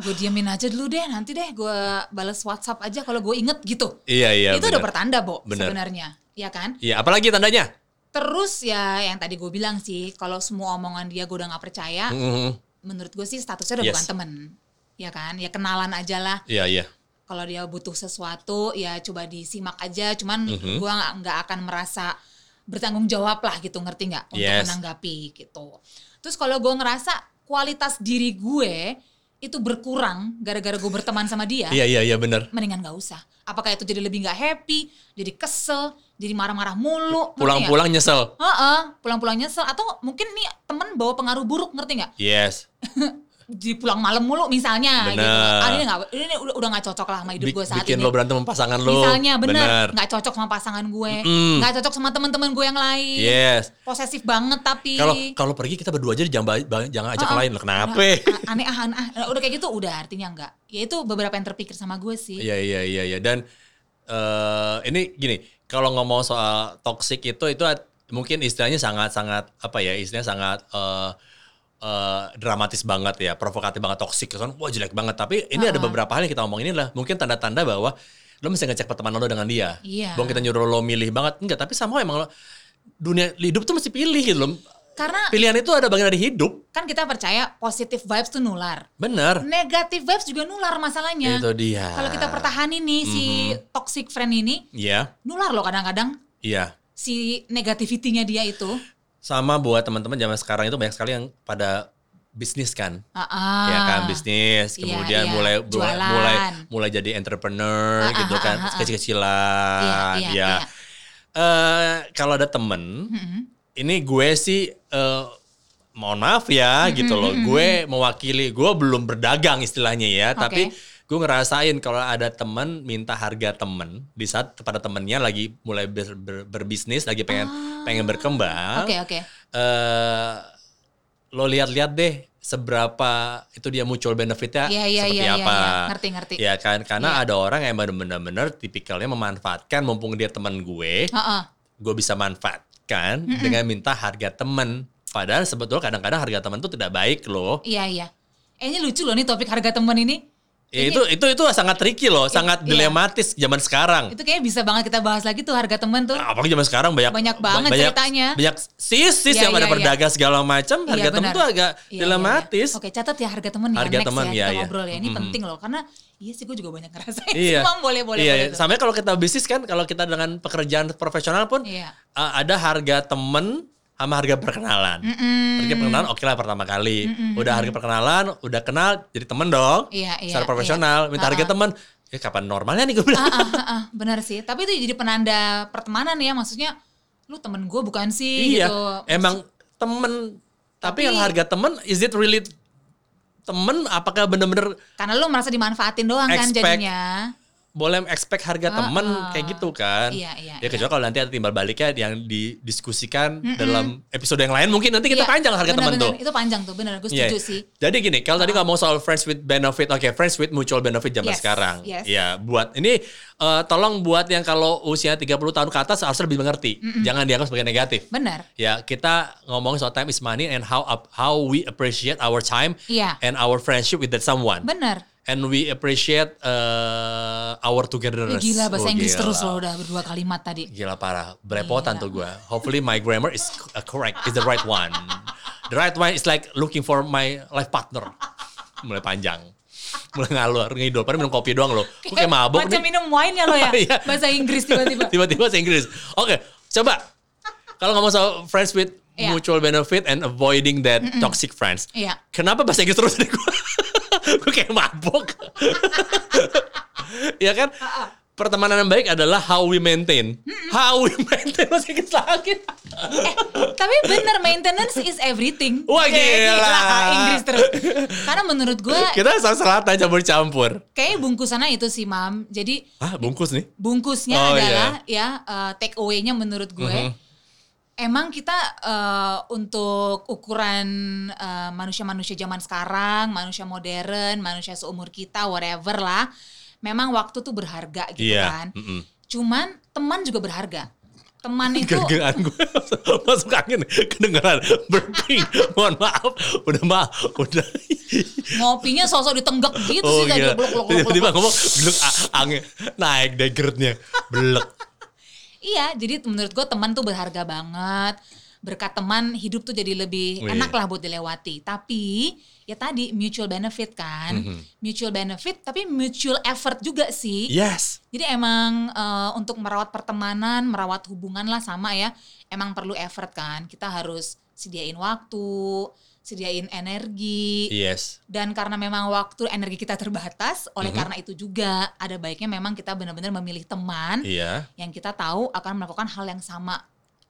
C: Gue diamin aja dulu deh. Nanti deh gue balas WhatsApp aja kalau gue inget gitu.
B: iya, iya.
C: itu udah
B: bener.
C: pertanda, Bo,
B: Bener.
C: sebenarnya. Ya kan?
B: Iya, apalagi tandanya?
C: Terus ya yang tadi gue bilang sih, kalau semua omongan dia gue udah gak percaya,
B: Mm-mm.
C: menurut gue sih statusnya udah
B: Hmm. Yes.
C: bukan temen. Ya kan? Ya kenalan aja lah.
B: Iya, iya.
C: Kalau dia butuh sesuatu ya coba disimak aja. Cuman
B: Mhm.
C: gue nggak nggak akan merasa bertanggung jawab lah gitu ngerti nggak untuk
B: Yes.
C: menanggapi gitu. Terus kalau gue ngerasa kualitas diri gue itu berkurang gara-gara gue berteman sama dia,
B: Iya iya iya benar.
C: mendingan nggak usah. Apakah itu jadi lebih nggak happy, jadi kesel, jadi marah-marah mulu, ngerti nggak?
B: Pulang-pulang nyesel.
C: Heeh, pulang-pulang nyesel atau mungkin nih temen bawa pengaruh buruk ngerti nggak?
B: Yes.
C: Di pulang malam mulu misalnya gitu.
B: Bener.
C: Ah, ini nggak ini udah udah nggak cocok lah sama hidup
B: Bi-
C: gue saat
B: bikin
C: ini.
B: lo berantem sama pasangan lo.
C: misalnya bener nggak cocok sama pasangan gue,
B: Mm-mm.
C: nggak cocok sama teman-teman gue yang lain.
B: Yes.
C: Posesif banget tapi
B: Kalau kalau pergi kita berdua aja jangan ba- jangan ajak
C: Uh-uh.
B: lain. Lah, Kenapa?
C: Udah, a- aneh ah, aneh ah. Nah, udah kayak gitu udah artinya nggak. Ya itu beberapa yang terpikir sama gue sih.
B: Iya iya iya iya dan eh ini gini kalau ngomong soal toxic itu itu at- mungkin istilahnya sangat sangat apa ya istilahnya sangat eh eh, dramatis banget ya provokatif banget toxic kan wah jelek banget tapi ini ada beberapa hal yang kita omongin ini lah mungkin tanda-tanda bahwa lo mesti ngecek pertemanan lo dengan dia
C: Iya.
B: Bukan kita nyuruh lo milih banget enggak tapi sama emang lo dunia hidup tuh mesti pilih gitu loh
C: Karena
B: pilihan itu ada bagian dari hidup
C: kan kita percaya positive vibes tuh nular.
B: bener
C: Negative vibes juga nular
B: Iya,
C: masalahnya.
B: itu Mm-hmm. dia
C: Kalau kita pertahanin nih si toxic friend ini,
B: iya
C: nular loh kadang-kadang
B: iya
C: si negativitinya dia itu.
B: sama buat teman-teman zaman sekarang itu banyak sekali yang pada bisnis kan
C: Ah,
B: ya kan bisnis
C: Iya,
B: kemudian
C: iya.
B: mulai mulai
C: Jualan.
B: mulai mulai jadi entrepreneur
C: Ah, ah,
B: gitu
C: ah,
B: kan
C: ah, ah.
B: kecil-kecilan
C: Iya, iya,
B: ya
C: iya.
B: Eh, kalau ada temen
C: Mm-mm.
B: ini gue sih eh, mohon maaf ya gitu loh gue mewakili gue belum berdagang istilahnya ya
C: Oke.
B: tapi gue ngerasain kalau ada temen minta harga temen di saat kepada temennya lagi mulai ber- ber- berbisnis lagi pengen pengen berkembang
C: Ah, Oke oke.
B: eh lo lihat-lihat deh seberapa itu dia muncul benefitnya
C: Iya iya
B: seperti
C: iya iya,
B: apa.
C: iya. Ngerti ngerti.
B: Ya kan karena
C: Iya.
B: ada orang yang benar-benar tipikalnya memanfaatkan mumpung dia teman gue,
C: Heeh.
B: gue bisa manfaatkan dengan minta harga temen. Padahal sebetulnya kadang-kadang harga temen tuh tidak baik loh.
C: Iya iya. Eh ini lucu loh nih topik harga temen ini.
B: Ya, itu itu itu sangat tricky loh, sangat
C: iya.
B: dilematis zaman sekarang.
C: Itu kayaknya bisa banget kita bahas lagi tuh harga temen tuh.
B: Apalagi zaman sekarang banyak
C: Banyak banget ceritanya.
B: Banyak sis-sis
C: Iya,
B: yang pada
C: iya, iya.
B: berdagang segala macam,
C: Iya,
B: harga temen
C: benar.
B: tuh agak
C: Iya,
B: dilematis.
C: iya, iya. Oke catat ya harga temen ya.
B: Harga
C: Next
B: temen,
C: ya,
B: iya,
C: kita
B: iya.
C: ngobrol ya. Ini
B: Mm-mm.
C: penting loh karena iya sih gue juga banyak ngerasain.
B: Iya.
C: Cuma boleh boleh
B: iya,
C: boleh.
B: iya.
C: tuh.
B: Sampai kalau kita bisnis kan, kalau kita dengan pekerjaan profesional pun
C: Iya.
B: uh, ada harga temen sama harga perkenalan.
C: Mm-mm.
B: Harga perkenalan oke lah pertama kali. Udah harga perkenalan, udah kenal, jadi temen dong.
C: Iya, iya,
B: Secara profesional, minta harga temen. Ya kapan normalnya nih gue bilang.
C: Ah, ah, ah, benar sih. Tapi itu jadi penanda pertemanan ya, maksudnya lu temen gue bukan sih
B: iya,
C: gitu.
B: emang temen. Tapi,
C: Tapi-
B: yang harga temen, is it really temen? Apakah bener-bener
C: Karena lu merasa dimanfaatin doang kan
B: Expect-
C: jadinya.
B: boleh expect harga temen kayak gitu kan?
C: Ah, Iya, iya,
B: Ya
C: iya.
B: kecuali kalau nanti ada timbal baliknya yang didiskusikan dalam episode yang lain mungkin nanti kita
C: Iya,
B: panjang harga temen tuh.
C: benar-benar. Itu panjang tuh, benar gue
B: Iya.
C: setuju sih. Ah.
B: Jadi gini, kalau tadi ngomong soal friends with benefit, oke friends with mutual benefit zaman
C: Yes,
B: sekarang.
C: yes.
B: Ya, buat ini eh, tolong buat yang kalau usia 30 tahun ke atas harus lebih mengerti. Jangan dianggap sebagai negatif.
C: Benar.
B: Ya, kita ngomong soal time is money and how up- how we appreciate our time
C: Iya.
B: and our friendship with that someone.
C: Benar.
B: And we appreciate eh, our
C: Lu
B: togetherness.
C: Ya gila bahasa
B: Oh,
C: Inggris
B: gila.
C: terus lo udah berdua kalimat tadi.
B: Gila parah, belepotan tuh gue. Hopefully my grammar is uh, correct, is the right one. The right one is like looking for my life partner. Mulai panjang, mulai ngalur, ngidol. Padahal minum kopi doang loh. Gue kayak mabok
C: Macam
B: nih.
C: minum wine ya lo ya.
B: Iya.
C: bahasa Inggris tiba-tiba.
B: Tiba-tiba saya Inggris. Oke, coba. Kalau ngomong soal friends with
C: Iya.
B: mutual benefit and avoiding that toxic friends.
C: Iya.
B: Kenapa bahasa Inggris terus dari gue? gue kayak mabok. ya kan? Pertemanan yang baik adalah how we maintain. How we maintain bahasa Inggris lagi.
C: eh, tapi benar maintenance is everything.
B: Wah,
C: Oke,
B: gila.
C: ah, Inggris terus. Karena menurut gue
B: kita sama selatan campur-campur.
C: kayaknya bungkusannya itu sih, Mam. Jadi
B: Ah, bungkus nih.
C: bungkusnya
B: Oh,
C: adalah ya eh, take away-nya menurut gue
B: Mm-hmm.
C: emang kita eh, untuk ukuran eh, manusia-manusia zaman sekarang, manusia modern, manusia seumur kita whatever lah, memang waktu tuh berharga gitu
B: Iya.
C: kan.
B: mm-mm.
C: Cuman teman juga berharga. Teman itu
B: Gergeran gue masuk angin kedengeran burping. Mohon maaf, udah maaf, udah.
C: ngopinya sosok ditenggek gitu sih tadi
B: gila.
C: blok blok blok
B: Oh, iya. Tiba-tiba ngomong geluk a- angin naik deh gerutnya. Belek.
C: Iya, jadi menurut gue teman tuh berharga banget. berkat teman hidup tuh jadi lebih
B: Wih.
C: enak lah buat dilewati. Tapi ya tadi mutual benefit kan, mutual benefit tapi mutual effort juga sih.
B: Yes.
C: Jadi emang eh, untuk merawat pertemanan, merawat hubungan lah sama ya. Emang perlu effort kan. Kita harus sediain waktu, sediain energi.
B: Yes.
C: Dan karena memang waktu energi kita terbatas, oleh
B: Mm-hmm.
C: karena itu juga ada baiknya memang kita benar-benar memilih teman
B: Iya.
C: yang kita tahu akan melakukan hal yang sama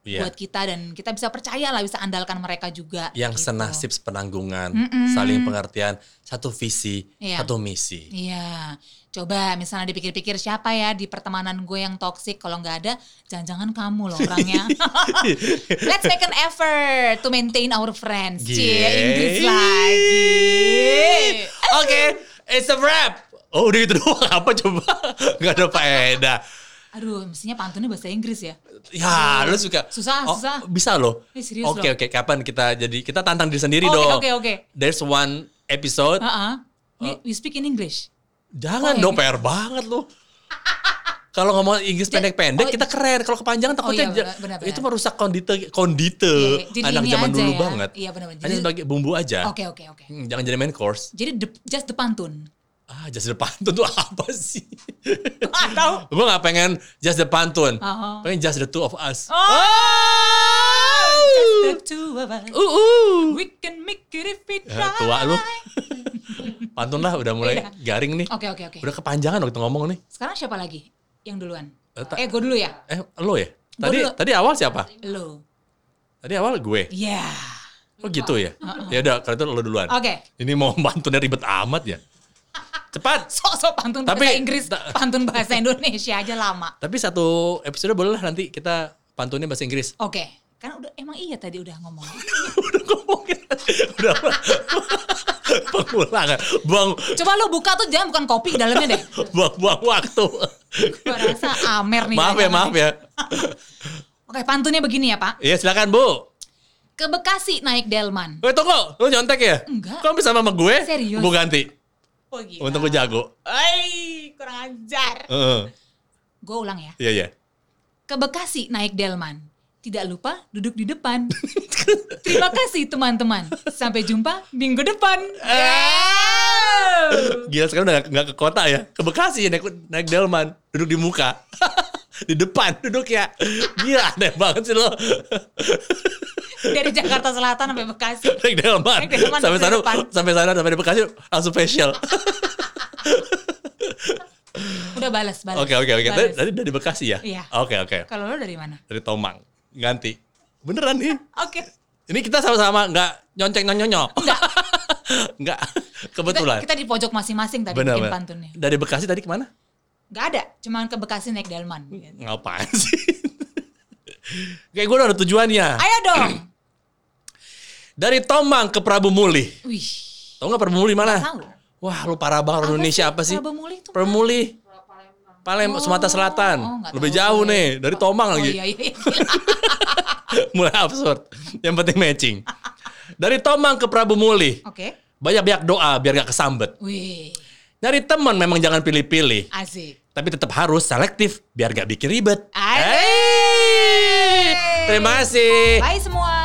B: Iya.
C: buat kita dan kita bisa percaya lah bisa andalkan mereka juga.
B: Yang
C: gitu.
B: senasib sepenanggungan,
C: Mm-mm.
B: saling pengertian, satu visi,
C: Iya.
B: satu misi.
C: Iya, coba misalnya dipikir-pikir siapa ya di pertemanan gue yang toksik kalau nggak ada, jangan-jangan kamu loh orangnya. Let's make an effort to maintain our friends. Cie,
B: Yeay.
C: Inggris lagi.
B: Oke, it's a wrap. Oh udah gitu doang apa coba? Gak ada faedah.
C: Aduh, mestinya pantunnya bahasa Inggris ya.
B: Ya, lu suka.
C: Susah,
B: Oh,
C: susah.
B: Bisa loh.
C: Eh, serius
B: Oke,
C: loh.
B: oke. Kapan kita jadi kita tantang diri sendiri
C: Oke,
B: dong.
C: oke, oke.
B: There's one episode.
C: Heeh.
B: Oh.
C: We, we speak in English.
B: Jangan
C: Oh,
B: dong,
C: ini.
B: PR banget lu. Kalau ngomong Inggris pendek-pendek
C: oh,
B: kita keren. Kalau kepanjangan
C: Oh,
B: takutnya
C: iya,
B: ja-
C: benar, benar,
B: itu
C: benar.
B: merusak kondite kondite
C: Iya, iya. Jadi
B: anak
C: ini
B: zaman
C: aja
B: dulu
C: ya.
B: banget.
C: Iya, benar, benar.
B: Hanya
C: Jadi-
B: sebagai bumbu aja.
C: Oke, oke, oke.
B: Hmm, Jangan jadi main course.
C: Jadi the- just the pantun.
B: Ah, jas depan tuh apa sih?
C: Atau
B: gue gak pengen just the pantun.
C: Aha.
B: Pengen just the two of us.
C: Oh, just the two of us.
B: Uh, uh.
C: We can make it if we
B: Ya,
C: try.
B: tua lu. pantun lah udah mulai
C: Iya.
B: garing nih.
C: Oke, oke, oke.
B: Udah kepanjangan waktu ngomong nih.
C: Sekarang siapa lagi yang duluan?
B: Eh, tak-
C: Eh, gue dulu ya.
B: Eh, lo ya? Tadi
C: dulu.
B: tadi awal siapa?
C: Lo.
B: Tadi awal gue.
C: Ya.
B: Oh gitu ya? Ya udah, kalau itu lo duluan.
C: Oke.
B: Ini mau pantunnya ribet amat ya. Cepat.
C: Sok-sok pantun
B: Tapi-
C: bahasa Inggris, pantun bahasa Indonesia aja lama.
B: Tapi satu episode boleh lah nanti kita pantunnya bahasa Inggris.
C: Oke. Kan udah emang iya tadi udah ngomong.
B: udah ngomongin. udah. Pengulangan. Buang
C: Coba lo buka tuh jangan bukan kopi di dalamnya deh.
B: buang-buang waktu.
C: Gue rasa amer nih.
B: maaf ya,
C: jangan-jangan.
B: maaf ya.
C: Oke, pantunnya begini ya, Pak.
B: Iya, silakan Bu.
C: Ke Bekasi naik Delman.
B: Eh, tunggu. Lu nyontek ya?
C: Enggak.
B: Kok bisa sama gue?
C: Serius.
B: Gue ganti.
C: Oh, gila.
B: Untung gue jago.
C: Ay, kurang ajar.
B: Heeh.
C: Gue ulang ya.
B: Iya, iya.
C: Ke Bekasi naik Delman. Tidak lupa duduk di depan. Terima kasih teman-teman. Sampai jumpa minggu depan.
B: Eh. Gila sekarang udah gak, ke kota ya. Ke Bekasi ya, naik, naik Delman. Duduk di muka. di depan duduk ya. Gila aneh banget sih lo.
C: Dari Jakarta Selatan sampai Bekasi.
B: naik Delman.
C: Naik Delman,
B: sampai
C: duduk di
B: sana,
C: depan.
B: sampai sana, sampai di Bekasi langsung facial.
C: Udah balas, balas.
B: Oke, oke, oke. Tadi
C: Balas.
B: tadi dari Bekasi ya?
C: Iya.
B: Oke, oke.
C: Kalau lo dari mana?
B: Dari Tomang. Ganti. Beneran nih.
C: Oke.
B: Ini kita sama-sama nggak nyonceng nyonyok.
C: Enggak.
B: Nggak,
C: Kita,
B: kebetulan.
C: kita di pojok masing-masing tadi
B: Benar,
C: bikin
B: benar.
C: pantunnya.
B: Dari Bekasi tadi kemana?
C: Enggak ada, cuman ke Bekasi naik Delman. gitu.
B: Ngapain sih? Kayak gue udah ada tujuannya.
C: Ayo dong.
B: Dari Tomang ke Prabu Muli.
C: Wih.
B: Tau nggak Prabu Muli mana?
C: Tahu.
B: Wah, lu parah banget orang Indonesia apa sih?
C: Prabu Muli itu
B: Prabu Muli. Palembang, Sumatera Selatan.
C: Oh, nggak
B: Lebih
C: tahu
B: jauh
C: gue.
B: nih, dari Tomang
C: Oh,
B: lagi.
C: iya, iya, iya.
B: Mulai absurd. Yang penting matching. Dari Tomang ke Prabu Muli.
C: Oke.
B: Banyak-banyak doa biar gak kesambet.
C: Wih,
B: Nyari teman memang jangan pilih-pilih.
C: asik.
B: Tapi tetap harus selektif biar gak bikin ribet.
C: Asik.
B: Terima kasih.
C: Bye semua.
B: ya?